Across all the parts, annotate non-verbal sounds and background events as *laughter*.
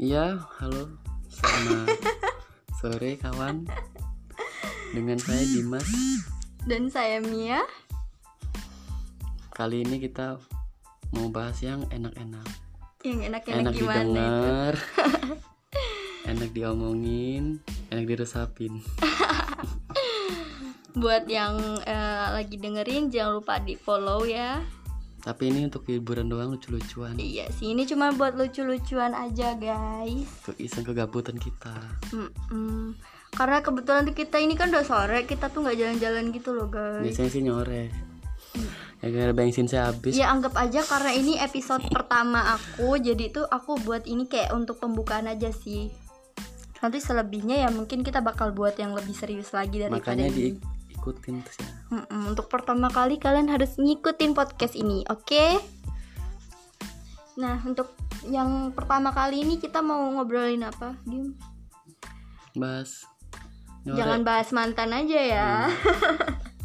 Iya, halo. Selamat sore kawan. Dengan saya Dimas. Dan saya Mia. Kali ini kita mau bahas yang enak-enak. Yang enak-enak Enak gimana itu? didengar. *laughs* enak diomongin, enak diresapin. Buat yang eh, lagi dengerin jangan lupa di follow ya. Tapi ini untuk hiburan doang lucu-lucuan. Iya sih, ini cuma buat lucu-lucuan aja guys. Untuk iseng kegabutan kita. Mm-mm. Karena kebetulan tuh kita ini kan udah sore, kita tuh nggak jalan-jalan gitu loh guys. Biasanya sih nyore. Ya gara bensin saya habis. Ya anggap aja karena ini episode pertama aku, jadi tuh aku buat ini kayak untuk pembukaan aja sih. Nanti selebihnya ya mungkin kita bakal buat yang lebih serius lagi daripada makanya ini. diikutin terus ya. Mm-mm, untuk pertama kali kalian harus ngikutin podcast ini, oke? Nah, untuk yang pertama kali ini kita mau ngobrolin apa? Dim? Bahas nyore. Jangan bahas mantan aja ya.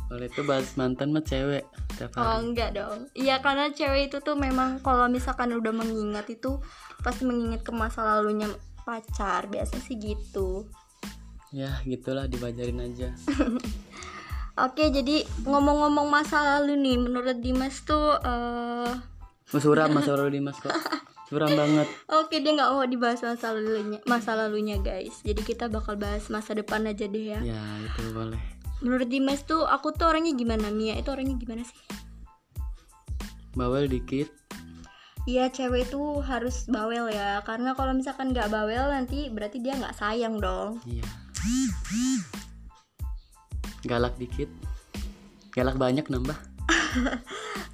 Kalau itu bahas mantan mah cewek tiap *laughs* Oh, hari. enggak dong. Iya, karena cewek itu tuh memang kalau misalkan udah mengingat itu pasti mengingat ke masa lalunya pacar, biasanya sih gitu. Ya gitulah dibajarin aja. Oke, jadi ngomong-ngomong masa lalu nih, menurut Dimas tuh eh Mas suram, mas suram Dimas kok. Suram banget. Oke dia nggak mau dibahas masa lalunya masa lalunya guys jadi kita bakal bahas masa depan aja deh ya Ya itu boleh. menurut Dimas tuh aku tuh orangnya gimana Mia itu orangnya gimana sih Bawel dikit. Iya cewek itu harus bawel ya karena kalau misalkan nggak bawel nanti berarti dia nggak sayang dong Iya. Galak dikit. Galak banyak nambah.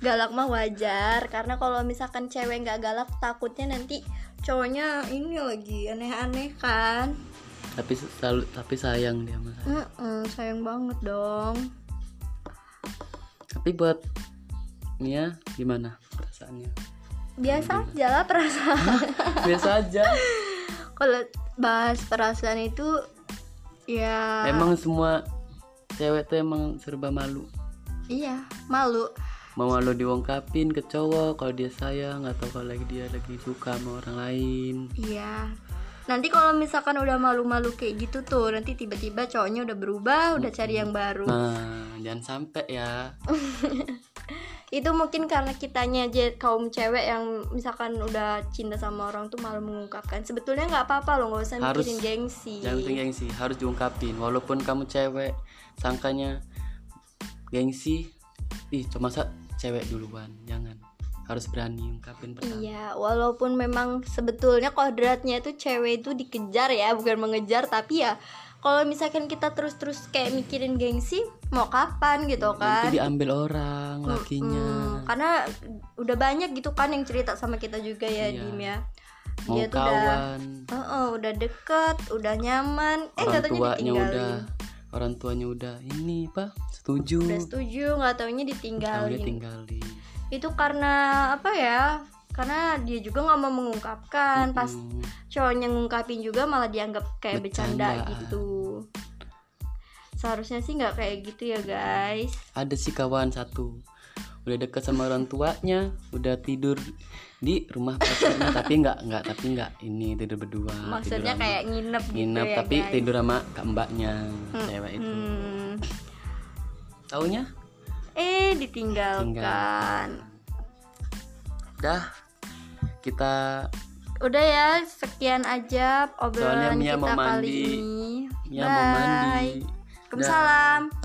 galak mah wajar karena kalau misalkan cewek nggak galak takutnya nanti cowoknya ini lagi aneh-aneh kan Tapi selalu tapi sayang dia sama saya. Mm-mm, sayang banget dong Tapi buat Mia gimana perasaannya? biasa aja lah perasaan *laughs* Biasa aja. kalau bahas perasaan itu ya Emang semua cewek tuh emang serba malu. iya malu mau lo diungkapin ke cowok kalau dia sayang atau kalau lagi dia lagi suka sama orang lain iya nanti kalau misalkan udah malu-malu kayak gitu tuh nanti tiba-tiba cowoknya udah berubah udah cari yang baru nah jangan sampai ya Oh, itu mungkin karena kitanya aja kaum cewek yang misalkan udah cinta sama orang tuh malu mengungkapkan sebetulnya nggak apa-apa loh nggak usah Harus. mikirin gengsi jangan bikin gengsi harus diungkapin walaupun kamu cewek sangkanya gengsi ih cuma sa cewek duluan jangan harus berani ungkapin pertama Iya, walaupun memang sebetulnya kodratnya itu cewek itu dikejar ya, bukan mengejar, tapi ya kalau misalkan kita terus-terus kayak mikirin gengsi, mau kapan gitu nanti kan? diambil orang lakinya Hmm, karena udah banyak gitu kan yang cerita sama kita juga ya, Iya. Dim ya. mau Dia tuh udah, Eh, kawan Heeh, udah deket, udah nyaman, orang eh nggak taunya tuanya ditinggalin. udah orang tuanya udah ini pak setuju Udah setuju, nggak taunya kamu ditinggalin. tinggalin Itu karena apa ya? Karena dia juga nggak mau mengungkapkan, pas Hmm. cowoknya ngungkapin juga malah dianggap kayak bercanda Bercandaan. gitu seharusnya sih nggak kayak gitu ya guys ada sih kawan satu udah deket sama orang tuanya udah tidur di rumah pacarnya tapi nggak nggak tapi nggak ini tidur berdua tidur maksudnya sama- kayak nginep gitu Ah, nginep ya tapi guys. tidur sama kak mbaknya cewek itu Hmm. taunya eh ditinggalkan dah kita udah ya sekian aja Soalnya obrolan Mia kita mau kali mandi. ini ya bye mau mandi Dah. Waalaikumsalam.